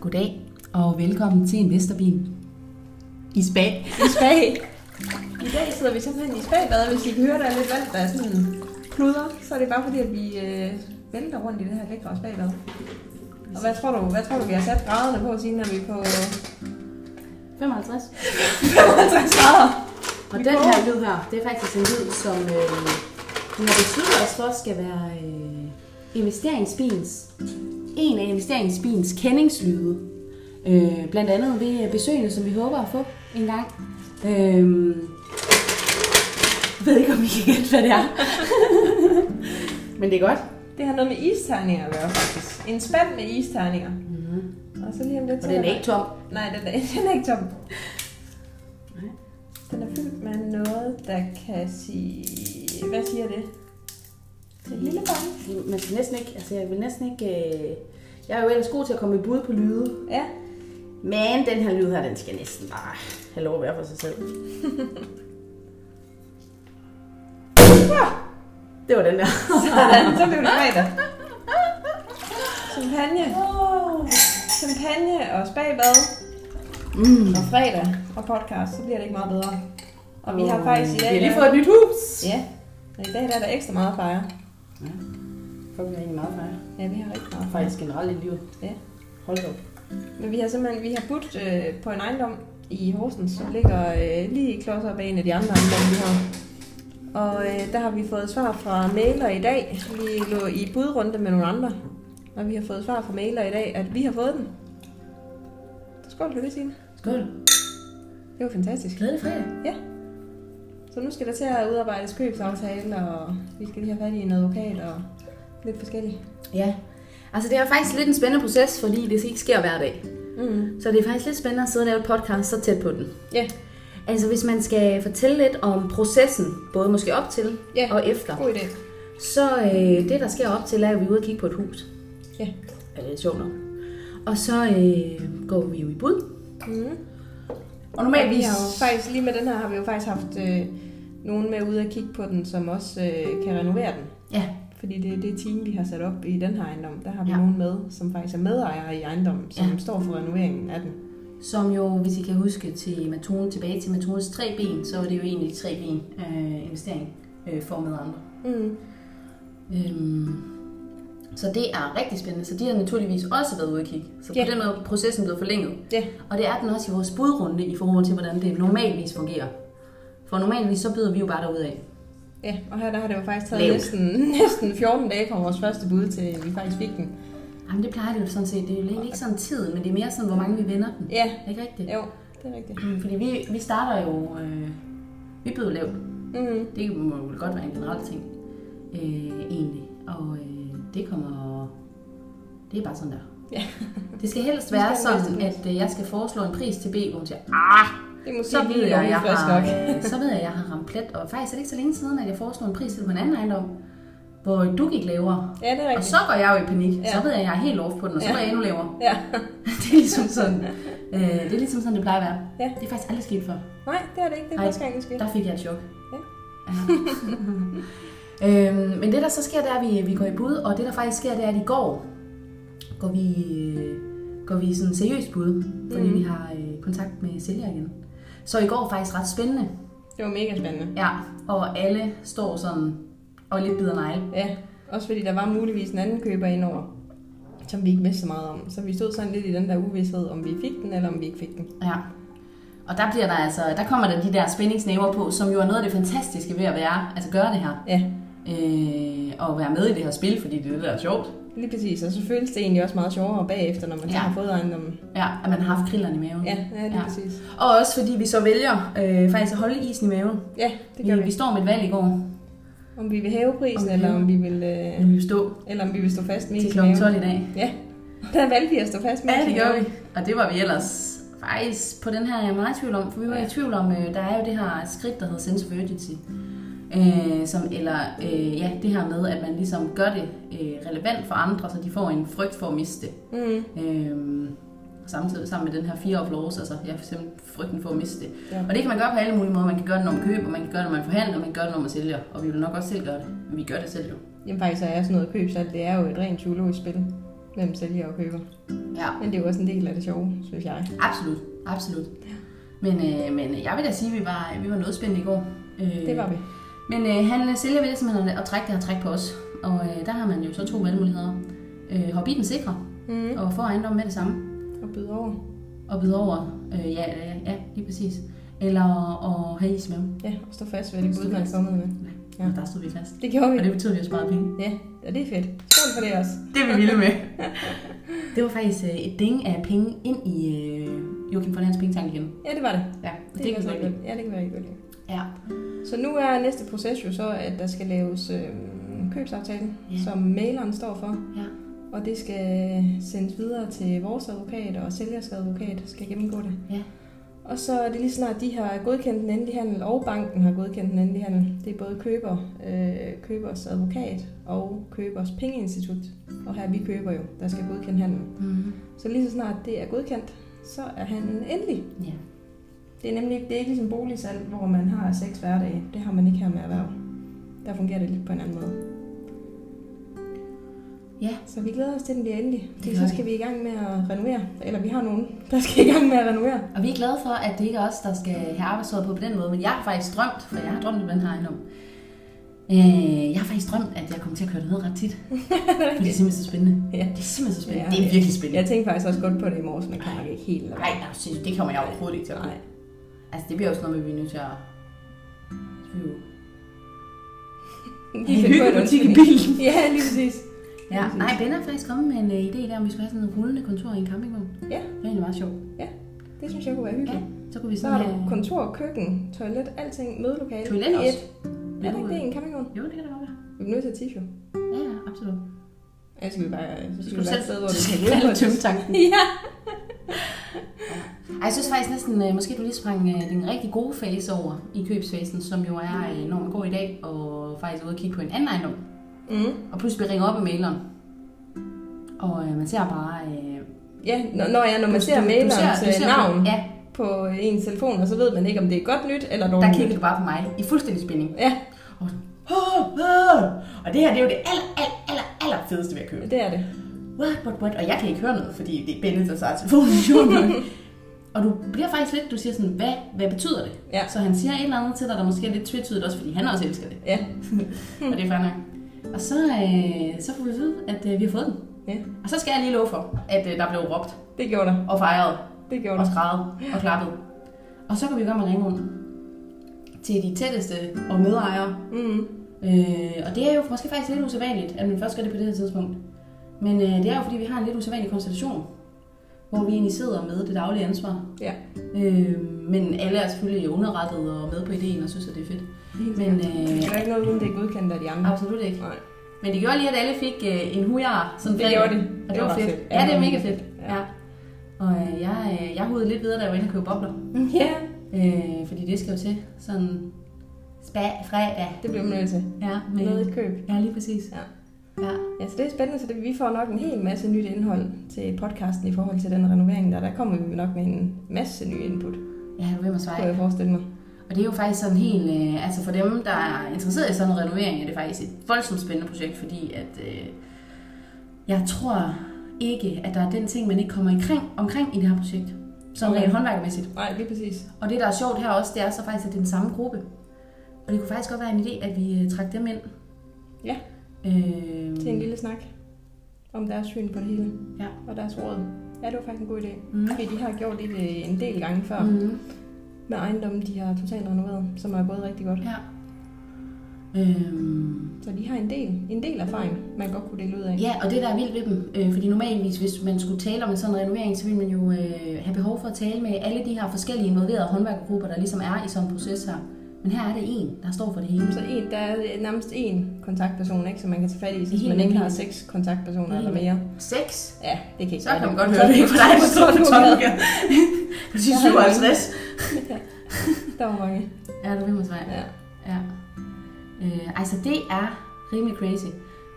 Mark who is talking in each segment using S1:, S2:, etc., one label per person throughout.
S1: Goddag og velkommen til en Vesterbin. I spag.
S2: I spag. I dag sidder vi simpelthen i spagbadet, hvis I kan høre, der er lidt vand, der er sådan kluder, så er det bare fordi, at vi øh, vælter rundt i det her lækre spagbad. Og hvad tror du, hvad tror du, vi har sat graderne på, siden når vi er på
S3: 55.
S2: 55 grader?
S3: Og
S2: Vi
S3: den
S2: går.
S3: her lyd her, det er faktisk en lyd, som øh, vi har besluttet os for, skal være øh, investeringsbins. En af investeringsbins kendingslyde. Øh, blandt andet ved besøgende, som vi håber at få en gang. Øh, jeg ved ikke, om I kan gætte, hvad det er. Men det er godt.
S2: Det har noget med isterninger at gøre, faktisk. En spand med isterninger. Mm-hmm. Og så lige om lidt...
S3: Og den er ikke tom.
S2: Nej, den er, den er ikke tom. Den er fyldt med noget, der kan sige... Hvad siger det? Det er et lille barn.
S3: Man skal næsten ikke, altså jeg vil næsten ikke... Øh, jeg er jo ellers god til at komme i bud på lyde.
S2: Ja,
S3: Men den her lyd her, den skal næsten bare have lov at være for sig selv. Ja, det var den der.
S2: sådan. Så blev det fredag. Champagne. Champagne og spagbad. Mm. Og fredag og podcast, så bliver det ikke meget bedre. Og vi har faktisk i dag...
S3: øh, Vi har lige fået et nyt hus.
S2: Ja, og i dag der er der ekstra meget at fejre.
S3: Fuck, vi har egentlig meget fejl.
S2: Ja, vi har rigtig meget at fejre.
S3: Faktisk generelt i livet.
S2: Ja.
S3: Hold da op.
S2: Men vi har simpelthen vi har budt øh, på en ejendom i Horsens, som ligger øh, lige klods op ad en af de andre ejendomme, vi har. Og øh, der har vi fået svar fra mailer i dag. Vi lå i budrunde med nogle andre, og vi har fået svar fra mailer i dag, at vi har fået den. Så skål for det, Signe.
S1: Skål.
S2: Det var fantastisk.
S1: Glædelig fredag.
S2: Så nu skal der til at udarbejdes købsaftale, og vi skal lige have fat i en advokat og lidt forskelligt.
S3: Ja.
S1: Altså det er faktisk lidt en spændende proces, fordi det ikke sker hver dag.
S2: Mm.
S1: Så det er faktisk lidt spændende at sidde og lave et podcast så tæt på den.
S2: Ja,
S1: Altså hvis man skal fortælle lidt om processen, både måske op til
S2: Ja.
S1: og efter,
S2: god idé.
S1: så øh, det der sker op til, er at vi er ude og kigge på et hus.
S2: Ja.
S1: Er det er sjovt nok. Og så øh, går vi jo i bud.
S2: Mm.
S1: Og
S2: Men
S1: normalt
S2: vi har jo faktisk, lige med den her, har vi jo faktisk haft øh, nogen med ude at kigge på den, som også øh, kan renovere den.
S1: Ja.
S2: Fordi det er det team, vi har sat op i den her ejendom. Der har vi
S1: Ja.
S2: ja. nogen med, som faktisk er medejere i ejendommen, som
S1: Ja.
S2: ja. står for renoveringen af den.
S1: Som jo, hvis I kan huske til metoden, tilbage til metodens tre ben, så var det jo egentlig tre ben øh, investering øh, for med andre.
S2: Mm.
S1: Øhm, så det er rigtig spændende. Så de har naturligvis også været ude at kigge. Så på
S2: Ja.
S1: den måde er processen blevet forlænget.
S2: Ja.
S1: Og det er den også i vores budrunde i forhold til, hvordan det normalvis fungerer. For normalvis så byder vi jo bare derudad.
S2: Ja, og her der har det jo faktisk taget
S1: Lavt.
S2: næsten, næsten 14 dage fra vores første bud til vi faktisk fik den.
S1: Jamen det plejer det jo sådan set. Det er jo egentlig ikke sådan tid, men det er mere sådan, hvor mange vi vender den.
S2: Ja,
S1: Er det Ikke rigtigt? Mm,
S2: jo, det er rigtigt.
S1: Fordi vi, vi starter jo... Øh, vi byder lavt.
S2: Mm.
S1: Det må jo godt være en generel ting, øh, egentlig. Og øh, det kommer... Det er bare sådan der.
S2: Ja.
S1: Det skal helst
S2: Vi skal
S1: være
S2: have en
S1: sådan,
S2: bedste
S1: at øh, jeg skal foreslå en pris til B, hvor hun siger, ah,
S2: Det er måske
S1: så ved
S2: lige
S1: jeg,
S2: jeg,
S1: jeg
S2: frisk nok.
S1: har, øh, så ved jeg, jeg har ramt plet. Og faktisk er det ikke så længe siden, at jeg foreslog en pris til på en anden ejendom, hvor du gik lavere.
S2: Ja, det er
S1: Og
S2: rigtigt.
S1: så går jeg jo i panik.
S2: Ja.
S1: Så ved jeg, at jeg er helt off på den, og så
S2: Ja.
S1: går jeg endnu lavere.
S2: Ja.
S1: Det er ligesom sådan, øh, det, er ligesom sådan, det plejer at være.
S2: Ja.
S1: Det er faktisk aldrig sket før.
S2: Nej, det er det ikke. Det er
S1: Nej.
S2: første gang, det sker.
S1: Der fik jeg et chok.
S2: Ja.
S1: Ja. øhm, men det der så sker, det er, at vi, vi går i bud, og det der faktisk sker, det er, at i går går vi, øh, går vi i sådan seriøst bud, fordi mm. vi har øh, kontakt med sælger igen. Så i går er faktisk ret spændende,
S2: Det var mega spændende.
S1: ja, og alle står sådan og lidt bider negle.
S2: Ja, også fordi der var muligvis en anden køber indover, som vi ikke vidste så meget om. Så vi stod sådan lidt i den der uvidshed, om vi fik den, eller om vi ikke fik den.
S1: Ja. Og der bliver der altså, der kommer der de der spændingsnæver på, som jo er noget af det fantastiske ved at være, altså gøre det her.
S2: Ja,
S1: Øh, og være med i det her spil, fordi det er det, der er sjovt.
S2: lige præcis. Og så føles det egentlig også meget sjovere bagefter, når man så
S1: Ja.
S2: har fået ejendommen.
S1: Ja, at man har haft krillerne i maven.
S2: Ja, ja lige
S1: Ja.
S2: ja. præcis.
S1: Og også fordi vi så vælger øh, faktisk at holde isen i maven.
S2: Ja, det gør
S1: vi,
S2: vi.
S1: vi står med et valg i går,
S2: Om vi vil hæve prisen,
S1: Om vi
S2: eller
S1: hæver.
S2: om vi vil, øh,
S1: men vi vil stå
S2: eller om vi vil stå fast med
S1: til
S2: isen
S1: kl.
S2: i maven.
S1: 12 i dag.
S2: Ja, der valgte vi at stå fast med
S1: Ja,
S2: isen
S1: det
S2: i
S1: gør
S2: maven.
S1: vi. Og det var vi ellers faktisk på den her er jeg meget i tvivl om, for vi var i
S2: Ja.
S1: tvivl om, øh, der er jo det her skridt, der hedder sense of urgency. Øh, som, eller øh, ja, det her med, at man ligesom gør det øh, relevant for andre, så de får en frygt for at miste det.
S2: Mm,
S1: Øh, samtidig sammen med den her fear of loss, altså ja, for eksempel frygten for at miste det.
S2: ja.
S1: Og det kan man gøre på alle mulige måder. Man kan gøre det, når man køber, man kan gøre det, når man forhandler, man kan gøre det, når man sælger. Og vi vil nok også selv gøre det. Men vi gør det selv jo.
S2: Jamen faktisk så er sådan noget købsalg, det er jo et rent psykologisk spil. mellem sælger og køber.
S1: Ja.
S2: Men det er jo også en del af det sjove, synes jeg.
S1: Absolut, absolut. Men, øh, men øh, jeg vil da sige, at vi var, vi var noget spændende i går. Øh,
S2: Det var vi.
S1: Men øh, han øh, sælger ved simpelthen at trække det og trække på os. Og øh, der har man jo så to valgmuligheder. Øh, hoppe i den sikre
S2: Mm.
S1: og få ejendommen med det samme.
S2: Og byde over.
S1: Og byde over, øh, ja, ja, ja, ja, lige præcis. Eller at have is med dem.
S2: Ja, og stå fast ved det bud, man er kommet med. Ja.
S1: Ja. Der stod vi fast.
S2: Det gjorde vi.
S1: Og det betyder, at vi har sparet penge.
S2: Ja, og det er fedt. Skål for det også.
S1: Det er vi vilde med. det var faktisk øh, et ding af penge ind i øh, Joachim von Hans pengetank igen.
S2: Ja, det var det.
S1: Ja,
S2: Det,
S1: det, det
S2: kan
S1: kan
S2: jeg
S1: vi
S2: godt
S1: godt
S2: lide. Ja, det kan være rigtig godt lide.
S1: Ja.
S2: Så nu er næste proces jo så, at der skal laves øh, købsaftalen,
S1: Ja.
S2: som maileren står for.
S1: Ja.
S2: Og det skal sendes videre til vores advokat, og sælgers advokat skal gennemgå det.
S1: Ja.
S2: Og så er det lige snart, de har godkendt den endelige handel, og banken har godkendt den endelige handel. Det er både køber, øh, købers advokat og købers pengeinstitut. Og her er vi køber jo, der skal godkende handelen.
S1: Mm-hmm.
S2: Så lige så snart det er godkendt, så er handlen endelig.
S1: ja.
S2: Det er nemlig ikke, det er ikke ligesom boligsalg, hvor man har seks hverdage. Det har man ikke her med erhverv. Der fungerer det lidt på en anden måde.
S1: Ja.
S2: Så vi glæder os til, at den bliver endelig.
S1: Det
S2: Fordi
S1: gør
S2: så
S1: vi.
S2: skal vi i gang med at renovere. Eller vi har nogen, der skal i gang med at renovere.
S1: Og vi er glade for, at det ikke er os, der skal have arbejdsåret på på den måde, men jeg har faktisk drømt, for jeg har drømt om den her ejendom. Øh, jeg har faktisk drømt, at jeg kommer til at køre derned ret tit. for det er simpelthen så spændende.
S2: Ja.
S1: Det er simpelthen så spændende.
S2: Ja,
S1: det er
S2: ja.
S1: virkelig spændende.
S2: Jeg tænkte faktisk også godt på det i morges, men kan nok ikke helt. lade
S1: Nej,
S2: være.
S1: ja. det kommer jeg overhovedet ikke til at kunne.
S2: Nej.
S1: Altså, det bliver jo sådan noget, med, at vi er nødt til at... Så vi jo-
S2: Lige finde på en
S1: Hyggebutik i
S2: undskyldning.
S1: bilen.
S2: Ja, lige præcis.
S1: Ja,
S2: Lige præcis.
S1: nej, Ben har faktisk kommet med en øh, idé der, om vi skulle have sådan en rullende kontor i en campingvogn.
S2: Ja.
S1: Det er egentlig meget sjovt.
S2: Det synes jeg kunne være
S1: Ja,
S2: hyggeligt.
S1: så kunne vi
S2: Så har
S1: sådan
S2: du
S1: have...
S2: kontor, køkken, toilet, alting, mødelokale.
S1: Toilet
S2: i
S1: også.
S2: et. Er der ikke det i en campingvogn?
S1: Jo, det kan det godt være.
S2: Vi er nødt til at tisho.
S1: Ja, ja, absolut.
S2: Jeg skal vi bare...
S1: Så skal
S2: Så skal vi
S1: du
S2: være
S1: selv
S2: et sted, hvor du
S1: skal
S2: skal
S1: knalde
S2: rydde på det.
S1: tømtanken.
S2: Ja.
S1: Ej, jeg synes faktisk næsten, øh, måske du lige sprang øh, den rigtig gode fase over i købsfasen, som jo er, øh, når man går i dag og faktisk er ude og kigge på en anden ejendom,
S2: Mm.
S1: og pludselig bliver ringet op af maileren. Og øh, man ser bare... Øh,
S2: Ja, når, når, ja, når man ser mailerens øh, navn
S1: Ja,
S2: på øh, ens telefon, og så ved man ikke, om det er godt nyt eller
S1: der
S2: dårligt
S1: kigger
S2: nyt.
S1: du bare på mig i fuldstændig spænding.
S2: Ja,
S1: Åh, åh. Og det her, det er jo det aller, aller, aller, aller fedeste ved at købe.
S2: det er det.
S1: What, what, what? Og jeg kan ikke høre noget, fordi det er Bennett, der tager telefonen i jorden. Og du bliver faktisk lidt, du siger sådan, hvad, hvad betyder det?
S2: Ja.
S1: Så han siger et eller andet til dig, der måske er lidt tvetydigt også, fordi han også elsker det.
S2: Ja,
S1: Og det er fair nok. Og så, øh, så får vi at vide, at øh, vi har fået den.
S2: Ja.
S1: Og så skal jeg lige love for, at øh, der blev råbt
S2: det gjorde der.
S1: og fejret
S2: Det gjorde
S1: og
S2: der.
S1: skrædet og klappet. Og så kan vi gøre med at ringe rundt til de tætteste og medejere.
S2: Mm.
S1: Øh, og det er jo måske faktisk lidt usædvanligt, at man først gør det på det her tidspunkt. Men øh, det er jo fordi, vi har en lidt usædvanlig konstellation, hvor vi egentlig sidder med det daglige ansvar.
S2: Ja.
S1: Øh, men alle er selvfølgelig underrettet og med på ideen og synes, at det er fedt. Men øh,
S2: Det er ikke noget, uden det er godkendt af de andre.
S1: absolut ikke.
S2: Nej.
S1: Men det gjorde lige, at alle fik øh, en hujar. Sådan
S2: Det
S1: fredag.
S2: gjorde det.
S1: Og det var
S2: ret
S1: fedt. Ja, det er mega fedt.
S2: Ja.
S1: Ja. Og øh, jeg, øh, jeg hudede lidt videre, da jeg var inde og købe bobler.
S2: ja,
S1: Øh, fordi det skal jo til. Sådan spa fredag.
S2: det bliver man nødt til.
S1: Ja,
S2: Noget
S1: men,
S2: et køb.
S1: ja, lige præcis.
S2: Ja.
S1: ja.
S2: Ja, så det er spændende, så det, vi får nok en hel masse nyt indhold til podcasten i forhold til den renovering der. Der kommer vi nok med en masse nye input,
S1: Ja, du ved mig
S2: kunne
S1: svare.
S2: jeg forestille mig.
S1: Og det er jo faktisk sådan helt, øh, altså for dem, der er interesseret i sådan en renovering, er det faktisk et voldsomt spændende projekt, fordi at øh, jeg tror ikke, at der er den ting, man ikke kommer omkring, omkring i det her projekt. Sådan
S2: Okay.
S1: rent håndværkermæssigt.
S2: Nej, lige præcis.
S1: Og det, der er sjovt her også, det er så faktisk, at det er den samme gruppe. Og det kunne faktisk godt være en idé, at vi øh, trak dem ind.
S2: Ja.
S1: Øh,
S2: til en lille snak om deres syn på det hele
S1: Ja.
S2: og deres råd. Ja, det var faktisk en god idé.
S1: Mm.
S2: Fordi de har gjort det øh, en del gange før
S1: Mm,
S2: med ejendommen, de har totalt renoveret, som er gået rigtig godt.
S1: ja. Øh,
S2: Så de har en del, en del erfaring, man godt kunne dele ud af.
S1: Mm. Ja, og det der er vildt ved dem, øh, fordi normalvis, hvis man skulle tale om en sådan renovering, så ville man jo øh, have behov for at tale med alle de her forskellige involverede håndværkergrupper, der ligesom er i sådan en proces her. Men her er det en, der står for det hele.
S2: Så en, der er øh, nærmest én kontaktperson, ikke, som man kan tage fat i,
S1: Det er
S2: hvis
S1: helt
S2: man ikke har
S1: vildt.
S2: seks kontaktpersoner
S1: Det er
S2: eller
S1: helt
S2: mere.
S1: Seks?
S2: Ja, det kan ikke
S1: Så
S2: være
S1: kan man
S2: nok.
S1: godt høre det ikke for dig, der
S2: Så
S1: står
S2: er
S1: for
S2: du
S1: toppen.
S2: glad.
S1: Du siger
S2: Jeg har
S1: 57.
S2: Der var mange.
S1: Ja, du vil mig svare.
S2: Ja.
S1: Ja. Øh, altså, det er rimelig crazy.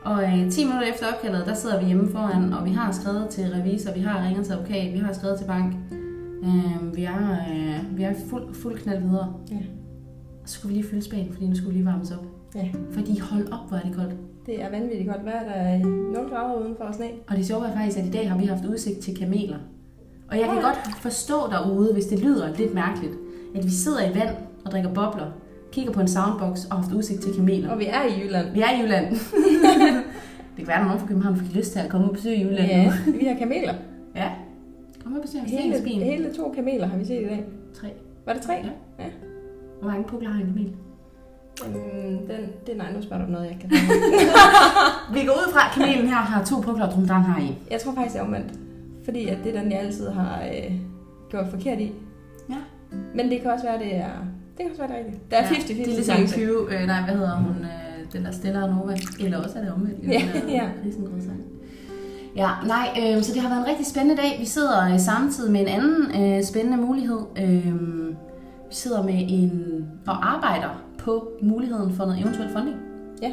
S1: Og øh, 10 minutter efter opkaldet, der sidder vi hjemme foran, og vi har skrevet til revisor, vi har ringet til advokat, vi har skrevet til bank. Øh, vi er, øh, vi er fuld, fuld knald videre.
S2: Ja.
S1: Og så skulle vi lige fylde spaden, fordi nu skulle vi lige varmes op.
S2: Ja.
S1: Fordi hold op, hvor er det koldt.
S2: Det Det er vanvittigt godt vejr. Der er 0 grader udenfor og sne.
S1: Og det sjove er faktisk, at i dag har vi haft udsigt til kameler. Og jeg kan
S2: Ja.
S1: godt forstå derude, hvis det lyder lidt mærkeligt, at vi sidder i vand og drikker bobler, kigger på en soundbox og har haft udsigt til kameler.
S2: Og vi er i Jylland.
S1: Vi er i Jylland. det kan være, at nogen fra København fik lyst til at komme og besøge Jylland.
S2: Ja, vi har kameler.
S1: ja. Kom og besøg
S2: Hele,
S1: Stensbyen.
S2: hele to kameler har vi set i dag.
S1: Tre.
S2: Var det tre?
S1: Ja. Hvor mange pukler har en kamel?
S2: Øhm, den, det, nej, nu spørger du om noget, jeg ikke kan finde.
S1: Vi går ud fra, at kamelen her har to pukler, og dromedaren har en.
S2: Jeg tror faktisk, jeg er omvendt. Fordi at det er den, jeg altid har øh, gjort forkert i.
S1: Ja.
S2: Men det kan også være, det er... Det kan også være, det er rigtigt. Der er 50-50
S1: ja, Det er ligesom
S2: chance.
S1: 20, øh, nej, hvad hedder hun, øh, den der Stella og Nova. Eller også er det omvendt.
S2: Ja, ja.
S1: Risengrød sang. Ja, nej, øh, så det har været en rigtig spændende dag. Vi sidder øh, samtidig med en anden øh, spændende mulighed. Øh, vi sidder med en og arbejder på muligheden for noget eventuel funding.
S2: Ja.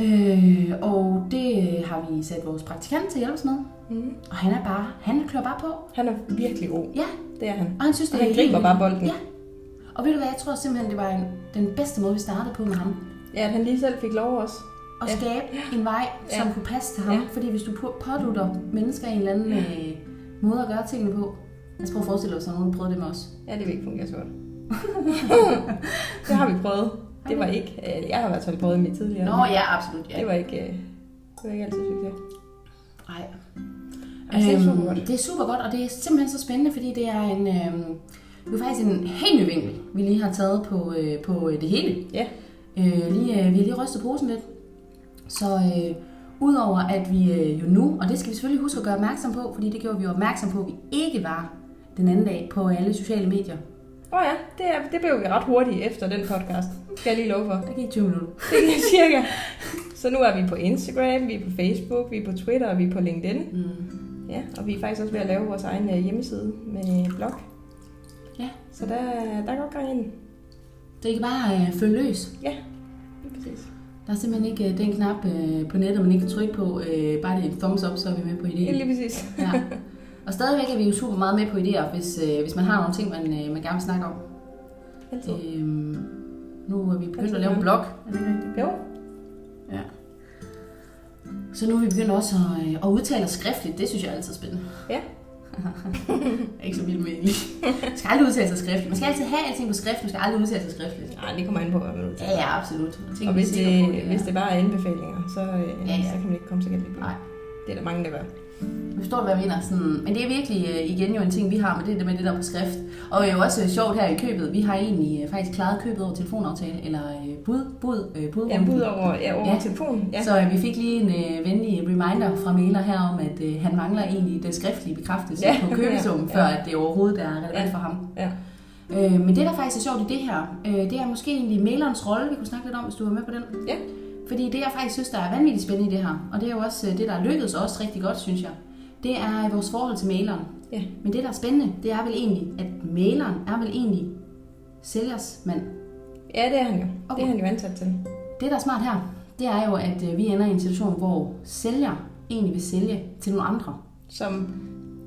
S1: Øh, og det øh, har vi sat vores praktikant til at hjælpe os med.
S2: Mm.
S1: Og han er bare, han klør bare på.
S2: Han er virkelig god.
S1: Ja,
S2: Det er han.
S1: og han synes, det
S2: Og
S1: er
S2: han
S1: helt
S2: griber
S1: vildt.
S2: bare bolden.
S1: Ja. Og ved du hvad, jeg tror simpelthen, det var en, den bedste måde, vi startede på med ham.
S2: Ja, at han lige selv fik lov også.
S1: At
S2: Ja.
S1: skabe en vej, som kunne passe til ham.
S2: Ja.
S1: Fordi hvis du pu- pådutter mennesker en eller anden øh, måde at gøre tingene på. Altså prøv at forestille dig, at nogen prøvede det med os.
S2: Ja, det vil ikke fungere så godt. det har vi prøvet. Det var ikke... Øh, jeg har i hvert fald prøvet i mit tidligere.
S1: Nå ja, absolut. Ja.
S2: Det var ikke... Øh, det var ikke altid succes.
S1: Nej.
S2: Ej, altså, det er super godt.
S1: Øhm, det er super godt, og det er simpelthen så spændende, fordi det er en... Øhm, det er faktisk en helt ny vinkel, vi lige har taget på, øh, på øh, det hele.
S2: Ja.
S1: Øh, lige, øh, vi har lige rystet posen lidt. Så øh, udover at vi øh, jo nu, og det skal vi selvfølgelig huske at gøre opmærksom på, fordi det gjorde vi jo opmærksom på, at vi ikke var den anden dag på alle sociale medier.
S2: Åh oh ja, det, er, det blev vi ret hurtigt efter den podcast. Skal jeg lige love for.
S1: Der gik 20 minutter.
S2: Det er cirka. Så nu er vi på Instagram, vi er på Facebook, vi er på Twitter og vi er på LinkedIn.
S1: Mm.
S2: Ja, og vi er faktisk også ved at lave vores egen øh, hjemmeside med blog.
S1: Ja.
S2: Så der, der er godt gang i den.
S1: Så I kan bare øh, følge løs.
S2: Lige præcis.
S1: Der er simpelthen ikke øh, den knap øh, på nettet, man ikke kan trykke på. Øh, bare det er en thumbs up, så er vi med på idéen.
S2: Ja, lige præcis.
S1: Ja. Og stadigvæk er vi jo super meget med på idéer, hvis, øh, hvis man har nogle ting, man, øh, man gerne vil snakke om.
S2: Altid.
S1: Øhm, nu er vi begyndt
S2: Altid
S1: at lave en blog, er det ikke rigtigt?
S2: Jo,
S1: Så nu er vi begyndt også at, øh, at udtale os skriftligt. Det synes jeg er altid er spændende.
S2: Ja.
S1: Jeg er ikke så vild med egentlig. Man skal aldrig udtale sig skriftligt. Man skal altid have alting på skrift, man skal aldrig udtale sig skriftligt.
S2: nej, det kommer an på, hvad man
S1: Ja, ja, absolut. Jeg tænker,
S2: Og hvis
S1: vi
S2: det,
S1: er sikre på,
S2: hvis
S1: er-
S2: det bare er anbefalinger, så, øh,
S1: Ja, ja.
S2: så kan man ikke komme så galt i byen.
S1: Nej.
S2: Det er der mange, der gør.
S1: Jeg forstår, hvad jeg mener. Sådan, men det er virkelig øh, igen jo en ting, vi har med det, der med det der på skrift. Og jo også øh, sjovt her i købet. Vi har egentlig øh, faktisk klaret købet over telefonaftale, eller øh, bud, bud, øh, bud.
S2: Ja, ud over, ja, over
S1: Ja.
S2: ja. telefonen. Ja.
S1: Så øh, vi fik lige en øh, venlig reminder fra Mæler her om, at øh, han mangler egentlig den skriftlige bekræftelse
S2: Ja,
S1: ja, på købesummen,
S2: ja,
S1: ja, ja.
S2: ja.
S1: før at det overhovedet er relevant
S2: Ja,
S1: for ham.
S2: ja.
S1: Øh, men det, der faktisk er sjovt i det her, øh, det er måske egentlig mailerens rolle, vi kunne snakke lidt om, hvis du var med på den.
S2: Ja.
S1: Fordi det, jeg faktisk synes, der er vanvittigt spændende i det her, og det er jo også øh, det, der er lykkedes os rigtig godt, synes jeg, det er vores forhold til maileren.
S2: Ja.
S1: Men det, der er spændende, det er vel egentlig, at maileren er vel egentlig sælgers mand.
S2: ja, det er han jo. Det
S1: Okay.
S2: er han jo ansat til.
S1: Det, der er smart her, det er jo, at øh, vi ender i en situation, hvor sælger egentlig vil sælge til nogle andre.
S2: Som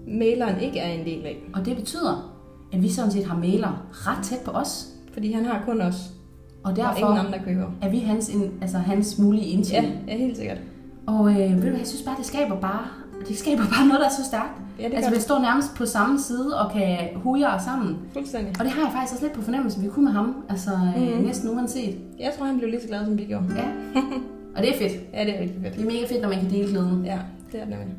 S2: maileren ikke er en del af.
S1: Og det betyder, at vi sådan set har mailer ret tæt på os,
S2: Fordi han har kun os,
S1: og
S2: og ingen
S1: derfor
S2: andre køber.
S1: er vi hans, en, altså hans mulige
S2: Ja,
S1: indtjening.
S2: ja, helt sikkert.
S1: Og øh, ved du hvad, jeg synes bare, det skaber bare, det skaber bare noget, der er så stærkt.
S2: Ja, det
S1: Altså,
S2: gør
S1: vi står nærmest på samme side og kan huje os sammen.
S2: det. Fuldstændig.
S1: Og det har jeg faktisk også lidt på fornemmelsen, vi kunne med ham. Altså, mm.
S2: Mhm.
S1: næsten uanset.
S2: Jeg tror, han blev lige så glad, som vi gjorde.
S1: Ja. og det er fedt.
S2: Ja, det er rigtig fedt.
S1: Det er mega fedt, når man kan dele glæden.
S2: Ja, det er det nemlig.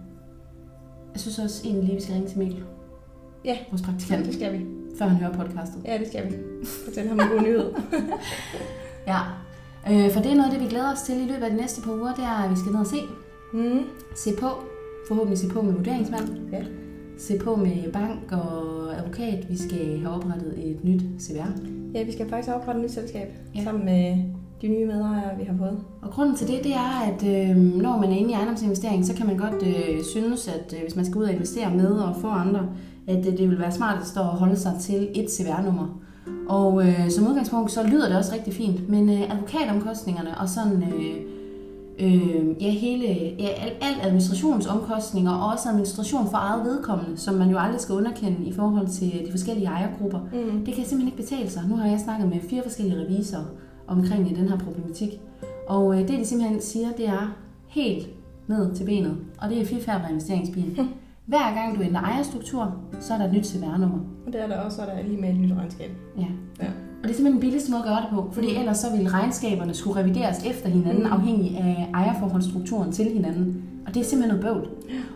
S1: Jeg synes også egentlig lige, vi skal ringe til Mikkel.
S2: Ja.
S1: Vores praktikant,
S2: Det skal vi.
S1: før han hører podcastet.
S2: Ja, det skal vi. Fortæl ham en god nyhed.
S1: Ja. Øh, for det er noget af det, vi glæder os til i løbet af de næste par uger, det er, at vi skal ned og se.
S2: Mm.
S1: Se på. Forhåbentlig se på med vurderingsmand.
S2: Ja.
S1: Se på med bank og advokat. Vi skal have oprettet et nyt CVR.
S2: Ja, vi skal faktisk oprette et nyt selskab
S1: Ja.
S2: ja. sammen med de nye medejere, vi har fået.
S1: Og grunden til det, det er, at øh, når man er inde i ejendomsinvestering, så kan man godt øh, synes, at øh, hvis man skal ud og investere med og for andre, at øh, det vil være smartest at holde sig til et CVR-nummer. Og øh, som udgangspunkt, så lyder det også rigtig fint, men øh, advokatomkostningerne og sådan... Øh, øh, ja, hele, ja, al, al administrationsomkostninger og også administration for eget vedkommende, som man jo aldrig skal underkende i forhold til de forskellige ejergrupper.
S2: Mm.
S1: Det kan simpelthen ikke betale sig. Nu har jeg snakket med fire forskellige revisorer omkring den her øh, problematik. Og øh, det, de simpelthen siger, det er helt ned til benet. Og det er FIFA med investeringsbilen. Hver gang du ændrer ejerstruktur, så er der et nyt CVR-nummer.
S2: Og det er der også, så er der lige med et nyt regnskab.
S1: Ja.
S2: Ja.
S1: Og det er simpelthen den billigste måde at gøre det på, fordi
S2: Mm.
S1: ellers så ville regnskaberne skulle revideres efter hinanden,
S2: Mm.
S1: afhængig af ejerforholdsstrukturen til hinanden. Og det er simpelthen noget bøvl.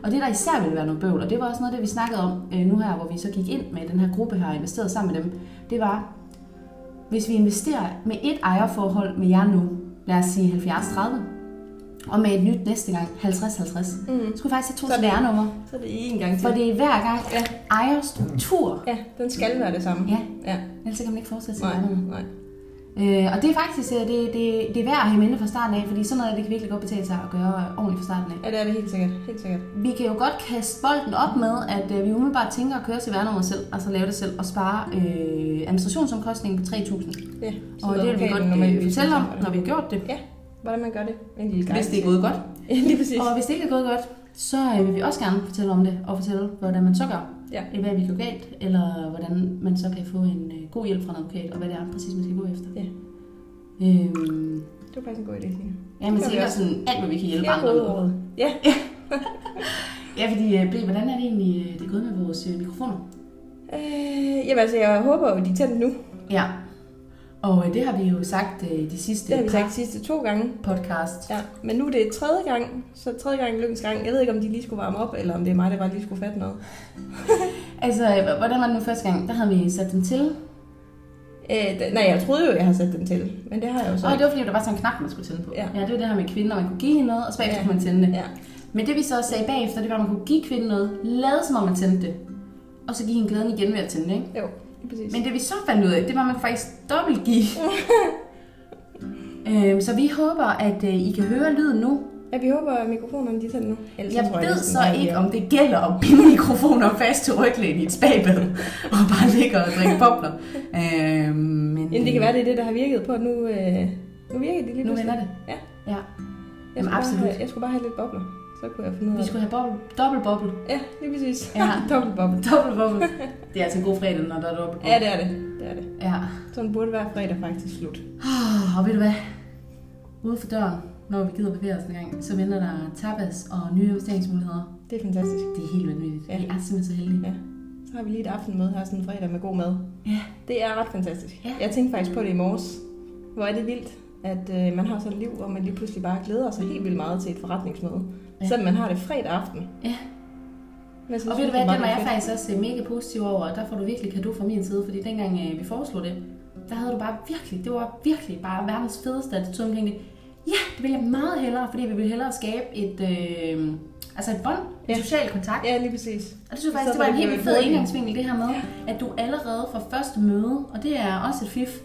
S1: Og det, der især ville være noget bøvl, og det var også noget, af det vi snakkede om øh, nu her, hvor vi så gik ind med den her gruppe her og investerede sammen med dem, det var, hvis vi investerer med et ejerforhold med jer nu, lad os sige 70-30, og med et nyt næste gang 50-50, så
S2: Mm.
S1: skulle vi faktisk have to
S2: Så det-
S1: CVR-numre,
S2: Så er det en gang til.
S1: for det er hver gang
S2: Ja.
S1: ejerstruktur.
S2: Ja, den skal være det samme.
S1: Ja,
S2: Ja.
S1: ellers så kan man ikke fortsætte
S2: Nej,
S1: CVR-nummer.
S2: nej.
S1: Øh, og det er faktisk øh, det, det, det er værd at have med fra starten af, fordi sådan noget det kan virkelig godt betale sig at gøre øh, ordentligt fra starten af.
S2: Ja, det er det helt sikkert. Helt sikkert.
S1: Vi kan jo godt kaste bolden op med, at øh, vi umiddelbart tænker at køre til værnummeret selv, og så lave det selv, og spare øh, administrationsomkostningen på 3.000.
S2: Ja. Så
S1: Og det vil vi
S2: advokaten
S1: godt
S2: normalt
S1: øh, fortælle om,
S2: tænker det.
S1: når vi har gjort det.
S2: Hvordan man gør det. En lille guide.
S1: Hvis det er gået godt.
S2: Ja, lige præcis.
S1: Og hvis det ikke er gået godt, så øh, vil vi også gerne fortælle om det, og fortælle, hvordan man så gør.
S2: Ja.
S1: Øh, Hvad vi går galt, eller hvordan man så kan få en øh, god hjælp fra en advokat, og hvad det er præcis, man skal gå efter.
S2: Ja.
S1: Øhm,
S2: Det var faktisk en god idé, Signe.
S1: Ja, man
S2: Det gør vi
S1: tænker
S2: også.
S1: sådan alt, hvad vi kan hjælpe
S2: Ja,
S1: andre med.
S2: råd. Ja.
S1: Ja, fordi, øh, Ble, hvordan er det egentlig, øh, det er gået med vores øh, mikrofoner?
S2: Øh, jamen altså, jeg håber jo, de er tændt nu.
S1: Ja. Og øh, det har vi jo sagt øh, de sidste
S2: Det har vi sagt sidste to gange.
S1: podcast.
S2: Ja, men nu er det tredje gang, så tredje gang er lykkens gang. Jeg ved ikke, om de lige skulle varme op, eller om det er mig, der bare lige skulle fatte noget.
S1: Altså, øh, hvordan var det nu første gang? Der havde vi sat den til.
S2: Øh, d- nej, jeg troede jo, jeg havde sat den til, men det har jeg jo så
S1: Og
S2: ikke.
S1: det var fordi, der var sådan en knap, man skulle tænde på.
S2: Ja.
S1: ja det var det her med kvinden, og man kunne give hende noget, og så bagefter
S2: Ja.
S1: kunne man tænde det.
S2: Ja,
S1: Men det vi så sagde bagefter, det var, at man kunne give kvinden noget, lade som om man tændte det. Og så give hende glæden igen ved at tænde det, ikke?
S2: jo, lige præcis.
S1: Men det vi så fandt ud af, det var, at man faktisk dobbelt give. øhm, så vi håber, at øh, I kan høre lyden nu,
S2: Ja, vi håber, at mikrofonerne de er tændt nu. Ellers
S1: Jeg
S2: tror
S1: ved
S2: næsten,
S1: så
S2: at vi
S1: ikke,
S2: er-
S1: om det gælder at binde mikrofoner fast til ryglæn i et spagbad, og bare ligge og drikke bobler. Øhm, men
S2: Jamen, det kan være, det er det, der har virket på, at nu, øh, nu virker de lige
S1: Nu vender
S2: pludselig.
S1: det.
S2: Ja.
S1: ja.
S2: Jeg
S1: Jamen,
S2: skulle, bare
S1: absolut.
S2: have, jeg skulle bare have lidt bobler, så kunne jeg finde ud
S1: Vi
S2: af det.
S1: skulle have boble, dobbelt boble.
S2: Ja, lige præcis.
S1: Ja.
S2: Dobbelt boble.
S1: Dobbelt boble. Det er altså en god fredag, når der er dobbelt boble.
S2: Ja, det er det. det er det.
S1: Ja.
S2: Sådan burde det være fredag faktisk slut.
S1: Ah, Og ved du hvad? Ude for døren, når vi gider bevæge os en gang, så venter der tapas og nye investeringsmuligheder.
S2: Det er fantastisk.
S1: Det er helt vanvittigt.
S2: Ja.
S1: Vi er simpelthen så heldige.
S2: Så har vi lige et aftenmøde her sådan en fredag med god mad.
S1: Ja.
S2: Det er ret fantastisk.
S1: Ja.
S2: Jeg tænkte faktisk på det i morges. Hvor er det vildt, at øh, man har sådan et liv, hvor man lige pludselig bare glæder sig helt vildt meget til et forretningsmøde.
S1: Ja.
S2: Ja. Selvom man har det fredag aften.
S1: Ja.
S2: Men så
S1: Og ved du hvad, den var jeg faktisk også øh, mega positiv over, og der får du virkelig kado fra min side, fordi dengang øh, vi foreslog det, der havde du bare virkelig, det var virkelig bare verdens fedeste attitude omkring det. Ja, det ville jeg meget hellere, fordi vi ville hellere skabe et, øh, altså et bånd, ja.
S2: Ja.
S1: et social kontakt. Ja.
S2: Ja, lige præcis.
S1: Og det synes jeg
S2: Så
S1: faktisk, det
S2: var
S1: var
S2: det
S1: en helt
S2: blevet
S1: fed
S2: hurtigt.
S1: indgangsvinkel, det her med, at du allerede fra første møde, og det er også et fif,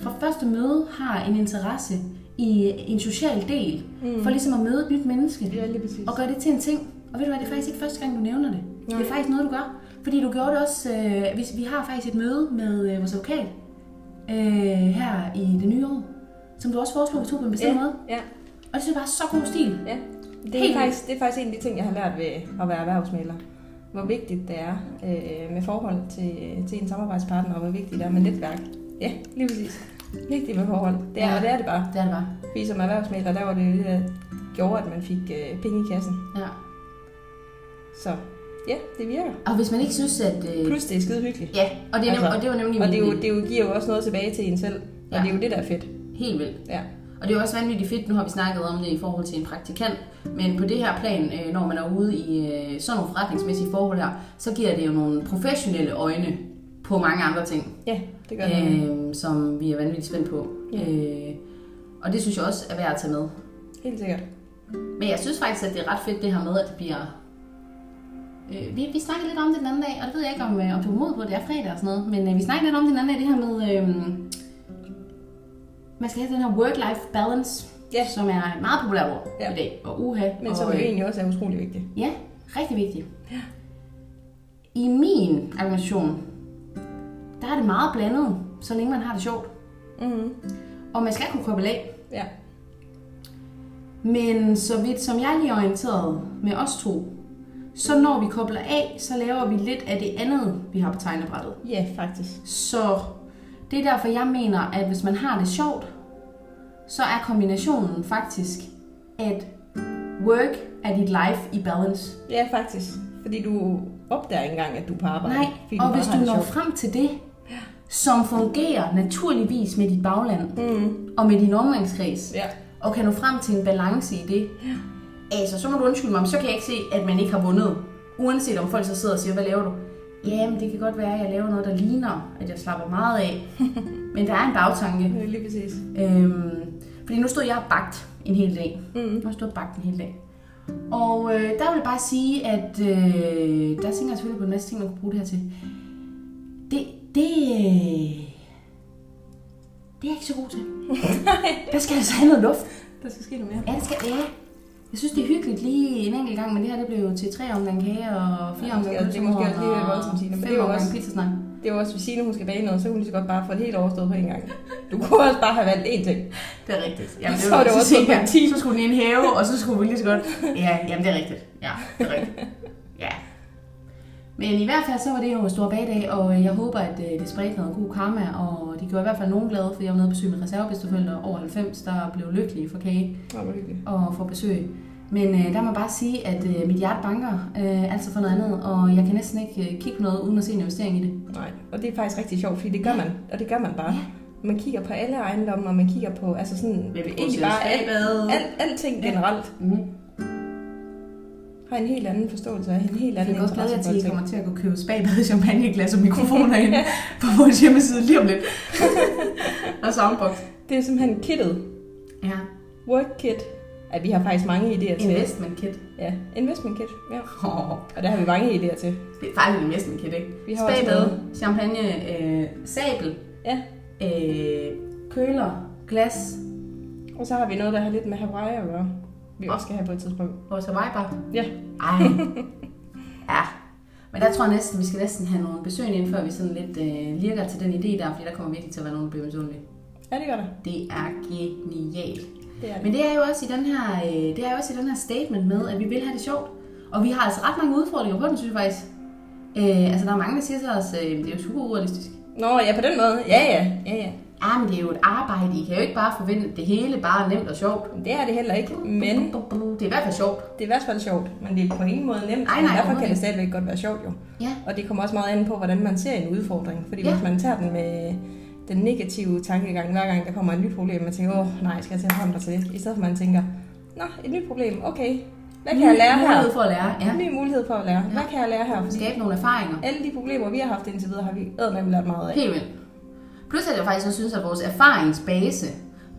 S1: fra første møde har en interesse i en social del,
S2: Mm.
S1: for ligesom at møde et nyt menneske
S2: Ja, lige præcis.
S1: og gør det til en ting. Og ved du hvad, det er faktisk ikke første gang, du nævner det. Nej. Det
S2: Nej.
S1: er faktisk noget, du gør. Fordi du gjorde det også, øh, vi, vi har faktisk et møde med øh, vores advokat øh, her i det nye år, som du også foreslog, vi tog på en bestemt
S2: Ja.
S1: måde.
S2: Ja,
S1: Og det synes jeg bare er så god stil.
S2: ja. Det
S1: Helt
S2: er, faktisk, det er faktisk en af de ting, jeg har lært ved at være erhvervsmaler. Hvor vigtigt det er øh, med forhold til, til en samarbejdspartner, og hvor vigtigt det er med netværk. Ja, lige præcis. Vigtigt med forhold. Det er,
S1: Ja.
S2: ja. og det er det bare.
S1: Det er det bare.
S2: Fordi som erhvervsmægler, der var det jo det, der gjorde, at man fik øh, penge i kassen.
S1: Ja.
S2: Så ja, det virker.
S1: Og hvis man ikke synes, at... Øh,
S2: Plus det er skide hyggeligt.
S1: ja, og det, er nem,
S2: Altså,
S1: og det var nemlig
S2: Og det, er
S1: min
S2: jo, det er jo, giver jo også noget tilbage til en selv. Og
S1: Ja.
S2: det er jo det, der er fedt.
S1: helt vildt.
S2: Ja.
S1: Og det er jo også vanvittigt fedt, nu har vi snakket om det i forhold til en praktikant, men på det her plan, øh, når man er ude i øh, sådan nogle forretningsmæssige forhold her, så giver det jo nogle professionelle øjne på mange andre ting.
S2: Ja, det gør det.
S1: øh, som vi er vanvittigt spændt på.
S2: Ja.
S1: Øh, og det synes jeg også er værd at tage med.
S2: Helt sikkert.
S1: Men jeg synes faktisk, at det er ret fedt det her med, at det bliver... Øh, vi, vi snakkede lidt om det den anden dag, og det ved jeg ikke, om, øh, om du er mod på, det er fredag og sådan noget, men øh, vi snakkede lidt om det den anden dag, det her med... Øh, man skal have den her work-life balance,
S2: Ja.
S1: som er et meget populært ord
S2: Ja.
S1: i dag, og uha.
S2: Men
S1: og,
S2: som jo
S1: øh,
S2: egentlig også er utrolig vigtigt.
S1: Ja, rigtig vigtigt. I min argumentation, der er det meget blandet, så længe man har det sjovt.
S2: Mm-hmm.
S1: Og man skal kunne koble af.
S2: Ja.
S1: Men så vidt som jeg lige er orienteret med os to, så når vi kobler af, så laver vi lidt af det andet, vi har på tegnebrættet.
S2: ja, faktisk.
S1: Så det er derfor, jeg mener, at hvis man har det sjovt, så er kombinationen faktisk, at work er dit life i balance.
S2: Ja, faktisk. Fordi du opdager ikke engang, at du er på arbejde.
S1: Nej,
S2: fordi
S1: og
S2: bare
S1: hvis
S2: har
S1: du
S2: det
S1: når
S2: sjovt.
S1: frem til det, som fungerer naturligvis med dit bagland
S2: Mm,
S1: og med din omgangskreds,
S2: ja.
S1: og kan nå frem til en balance i det, altså så må du undskylde mig, men så kan jeg ikke se, at man ikke har vundet. Uanset om folk så sidder og siger, hvad laver du? Jamen, det kan godt være, at jeg laver noget, der ligner, at jeg slapper meget af. Men der er en bagtanke.
S2: det er lige præcis.
S1: Øhm, fordi nu stod jeg og bagt en hel dag.
S2: Mm.
S1: Nu har jeg stået og bagt en hel dag. Og øh, der vil jeg bare sige, at øh, der tænker jeg selvfølgelig på en masse ting, man kunne bruge det her til. Det, det, øh, det er jeg ikke så god til. der skal altså have noget luft.
S2: Der skal ske noget mere.
S1: Ja, det skal ja. Jeg synes, det er hyggeligt lige en enkelt gang, men det her det blev jo til tre omgang kage og fire
S2: Ja,
S1: omgang
S2: det er måske også lige lidt voldsomt, Signe, men det er
S1: fem
S2: jo
S1: omgang
S2: også-
S1: pizzasnak.
S2: Det er jo også, hvis Signe, hun skal bage noget, så kunne hun lige så godt bare få det helt overstået på en gang. Du kunne også bare have valgt én ting.
S1: Det er rigtigt. Jamen,
S2: Så er det også
S1: tænker
S2: på en
S1: jeg,
S2: time.
S1: Så skulle den ind hæve, og så skulle vi lige så godt... Ja, jamen det er rigtigt. Ja, det er rigtigt. Ja. Men i hvert fald så var det jo en stor bagdag, og jeg håber, at øh, det spredte noget god karma, og det gjorde i hvert fald nogen glade, fordi jeg var nede på besøg med reservebedsteforældre over 90, der blev lykkelige for kage
S2: Åh, hvor hyggeligt.
S1: og få besøg. Men øh, der må jeg bare sige, at øh, mit hjerte banker øh, altså for noget andet, og jeg kan næsten ikke øh, kigge på noget uden at se en investering i det.
S2: Nej, og det er faktisk rigtig sjovt, fordi det gør man, og det gør man bare.
S1: Ja.
S2: Man kigger på alle ejendomme, og man kigger på, altså sådan, egentlig bare alt,
S1: alt.
S2: alt, alting generelt,
S1: Mm.
S2: har en helt anden forståelse af, en helt
S1: Jeg
S2: anden
S1: kan også glæde jer
S2: interesse
S1: til, at I
S2: for
S1: kommer til at kunne købe spagbad, champagne, glas og mikrofoner ind på vores hjemmeside lige om lidt. og soundbox.
S2: ting. Det er simpelthen kittet,
S1: Ja,
S2: work kit, at vi har faktisk mange idéer til.
S1: investment kit.
S2: Ja, investment kit, ja.
S1: Oh,
S2: Og der har vi mange idéer til.
S1: det er faktisk et investment kit, ikke?
S2: Vi har også
S1: Spagbad,
S2: noget-
S1: champagne, øh, sabel,
S2: Ja.
S1: øh, køler, glas,
S2: Og så har vi noget, der har lidt med Hawaii at gøre. Vi
S1: Nå.
S2: også skal have på et tidspunkt.
S1: vores survivor.
S2: Ja.
S1: Ej. Ja. Men der tror jeg næsten, vi skal næsten have nogle besøgende ind, før vi sådan lidt øh, lirker til den idé der, fordi der kommer virkelig til at være nogen, der bliver misundelige.
S2: Ja, det gør der.
S1: Det er genialt.
S2: Det er det.
S1: Men det er jo også i den her, øh, det er jo også i den her statement med, at vi vil have det sjovt. Og vi har altså ret mange udfordringer på den, synes jeg faktisk. Øh, altså, der er mange, der siger til os, øh, det er jo super urealistisk.
S2: Nå, ja, på den måde. Ja, ja. ja, ja.
S1: Ja, men det er jo et arbejde. I kan jo ikke bare forvente at det hele bare er nemt og sjovt.
S2: Men Det er det heller ikke, men
S1: Det er i hvert fald sjovt.
S2: det er i hvert fald sjovt. Men det er på ingen måde nemt.
S1: Nej, nej,
S2: men derfor kan
S1: overhovedet
S2: det stadigvæk godt være sjovt, jo.
S1: Ja.
S2: Og det kommer også meget an på, hvordan man ser en udfordring. Fordi
S1: Ja.
S2: ja. hvis man tager den med den negative tankegang, hver gang der kommer et nyt problem, man tænker, åh nej, skal jeg til at forholde mig til det? I stedet for, at man tænker, nå, et nyt problem, okay. Hvad kan jeg lære her?
S1: Mulighed for at lære, ja.
S2: Ny mulighed for at lære. Hvad kan jeg lære her? Fordi
S1: Skabe nogle erfaringer.
S2: alle de problemer, vi har haft indtil videre, har vi eddermame lært meget af.
S1: Helt vildt. Plus at jeg faktisk også synes, at vores erfaringsbase,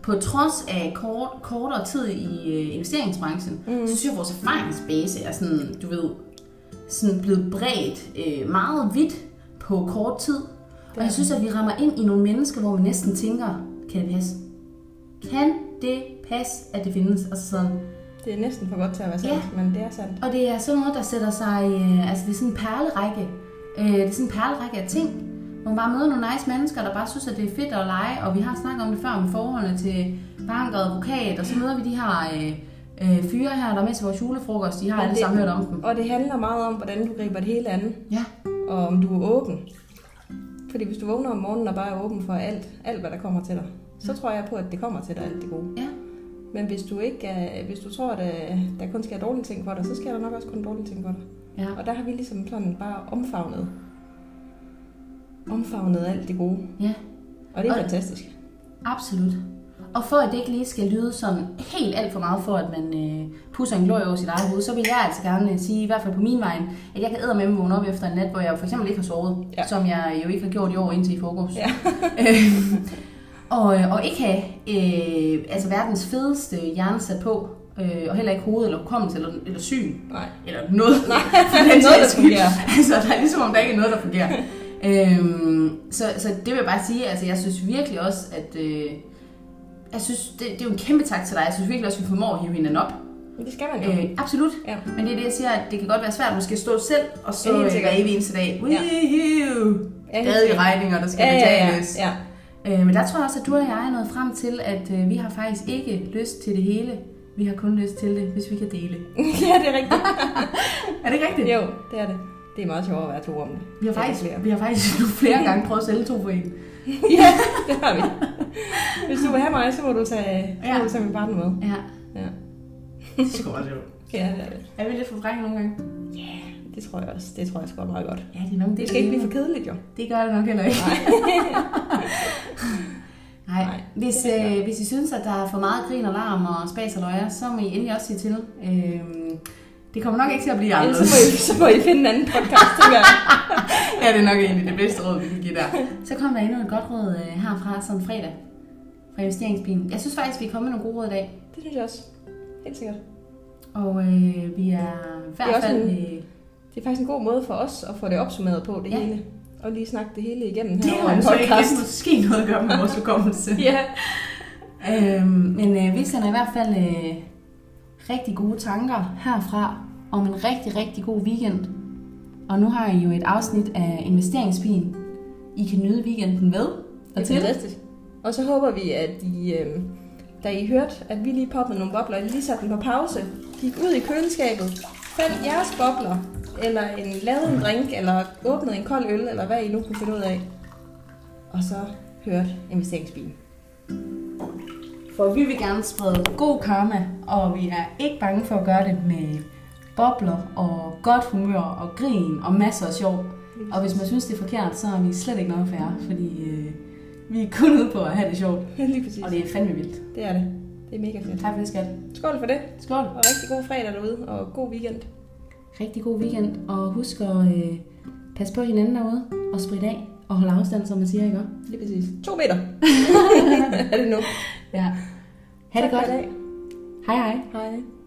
S1: på trods af kort, kortere tid i øh, investeringsbranchen, mm. så synes jeg, at vores erfaringsbase er sådan, du ved, sådan blevet bredt øh, meget vidt på kort tid. Og jeg synes, at vi rammer ind i nogle mennesker, hvor man næsten tænker, kan det passe? Kan det passe, at det findes? Altså sådan,
S2: Det er næsten for godt til at være sandt,
S1: Ja.
S2: men det er sandt.
S1: og det er sådan noget, der sætter sig... Øh, altså, det er sådan en perlerække. Øh, det er sådan en perlerække af ting. Hvor man bare møder nogle nice mennesker, der bare synes, at det er fedt at lege. Og vi har snakket om det før med forholdene til bank og advokat. Og så møder vi de her øh, øh, fyre her, der er med til vores julefrokost. De har
S2: Men
S1: alle
S2: det-
S1: sammen hørt om dem.
S2: Og det handler meget om, hvordan du griber det hele an,
S1: Ja,
S2: og om du er åben. Fordi hvis du vågner om morgenen og bare er åben for alt, alt hvad der kommer til dig, så tror jeg på, at det kommer til dig alt det gode.
S1: ja.
S2: Men hvis du, ikke er, hvis du tror, at øh, der kun sker dårlige ting for dig, så sker der nok også kun dårlige ting for dig.
S1: Ja.
S2: Og der har vi ligesom sådan bare omfavnet, omfavnet alt det gode.
S1: Ja.
S2: Og det er
S1: Og-
S2: fantastisk.
S1: Absolut. Og for at det ikke lige skal lyde sådan helt alt for meget for, at man øh, pusser en glorie over sit eget hoved, så vil jeg altså gerne øh, sige, i hvert fald på min vej, at jeg kan æde med vågne op efter en nat, hvor jeg for eksempel ikke har sovet, ja.
S2: Ja.
S1: som jeg jo ikke har gjort i år indtil i forgårs.
S2: Ja.
S1: Øhm, og, øh, og ikke have øh, altså verdens fedeste hjerne sat på, øh, og heller ikke hoved eller hukommelse eller, eller syn,
S2: Nej.
S1: eller noget.
S2: Nej,
S1: For den
S2: noget, der
S1: sags skyld.
S2: fungerer.
S1: altså, der er ligesom om, der ikke er noget, der fungerer. øhm, så, så det vil jeg bare sige, altså jeg synes virkelig også, at øh, jeg synes, det, det er jo en kæmpe tak til dig. Jeg synes virkelig også, at vi formår at hive hinanden op.
S2: Men det skal man jo.
S1: Øh, absolut.
S2: Ja.
S1: Men det er det, jeg siger, at det kan godt være svært måske at stå selv, og så
S2: Ja, helt
S1: øh, hver
S2: sikkert.
S1: evig eneste dag.
S2: Ja.
S1: Woohoo!
S2: Ja, helt
S1: Stadig
S2: sikkert.
S1: regninger, der skal
S2: ja, ja, ja,
S1: betales.
S2: ja.
S1: Øh, men der tror jeg også, at du og jeg er nået frem til, at øh, vi har faktisk ikke lyst til det hele. Vi har kun lyst til det, hvis vi kan dele.
S2: ja, det er rigtigt.
S1: Er det ikke rigtigt?
S2: Jo, det er det. Det er meget sjovt at være to om det.
S1: Vi har,
S2: Ja,
S1: faktisk,
S2: flere.
S1: vi har faktisk nu flere gange prøvet at sælge to for en.
S2: ja, det har vi. Hvis du vil have mig, så må du tage, ja.
S1: Ja.
S2: må du tage min partner med.
S1: Ja.
S2: Ja.
S1: Det er sgu meget sjovt.
S2: Ja, det er det.
S1: Er vi lidt for frække nogle gange?
S2: Det tror jeg også. Det tror jeg sgu er meget godt.
S1: Ja, det er nok det.
S2: Det skal ikke blive for kedeligt, jo.
S1: Det gør det nok heller ikke.
S2: Nej.
S1: Nej.
S2: Nej,
S1: Hvis,
S2: det er
S1: øh, hvis I synes, at der er for meget grin og larm og spas og løjer, så må I endelig også sige til. Øhm, det kommer nok ikke til at blive
S2: Ellers så må,
S1: anderledes.
S2: I, så må I finde en anden podcast, tænker jeg.
S1: ja, det er nok egentlig det bedste råd, vi kan give der. Så kom der endnu et godt råd øh, herfra, sådan fredag. Fra investeringspigen. Jeg synes faktisk, vi er kommet med nogle gode råd i dag.
S2: Det synes jeg også. Helt sikkert.
S1: Og øh, vi er i
S2: Det er
S1: hvert
S2: også
S1: fald...
S2: en-
S1: Øh,
S2: Det er faktisk en god måde for os at få det opsummeret på, det
S1: Ja.
S2: ja. hele. Og lige snakke det hele igennem
S1: Mm-hmm. det
S2: her over
S1: har
S2: en
S1: jo så ikke
S2: podcast.
S1: lidt måske noget at gøre med vores hukommelse.
S2: Ja.
S1: Øhm, men øh, vi sender i hvert fald øh, rigtig gode tanker herfra om en rigtig, rigtig god weekend. Og nu har I jo et afsnit af investeringspin. I kan nyde weekenden med og
S2: Det
S1: til.
S2: er fantastisk. Og så håber vi, at I, øh, da I hørte, at vi lige poppede nogle bobler, I lige satte dem på pause, gik ud i køleskabet, fandt jeres bobler, eller en, lavede en drink, eller åbnede en kold øl, eller hvad I nu kunne finde ud af. Og så hørte investeringsbilen.
S1: For vi vil gerne sprede god karma, og vi er ikke bange for at gøre det med bobler og godt humør og grin og masser af sjov. Og hvis man synes, det er forkert, så er vi slet ikke noget færre, fordi øh, vi er kun ude på at have det sjovt.
S2: lige præcis.
S1: Og det er fandme vildt.
S2: Det er det. Det er mega fedt.
S1: Tak for det, skat.
S2: Skål for det,
S1: Skål.
S2: og rigtig god fredag derude, og god weekend.
S1: rigtig god weekend, og husk at øh, passe på hinanden derude, og spritte af, og holde afstand, som man siger, ikke? også?
S2: Lige præcis. To meter. er det nu?
S1: Ja. Ha' det
S2: Tak for i
S1: godt.
S2: dag.
S1: Hej hej.
S2: Hej.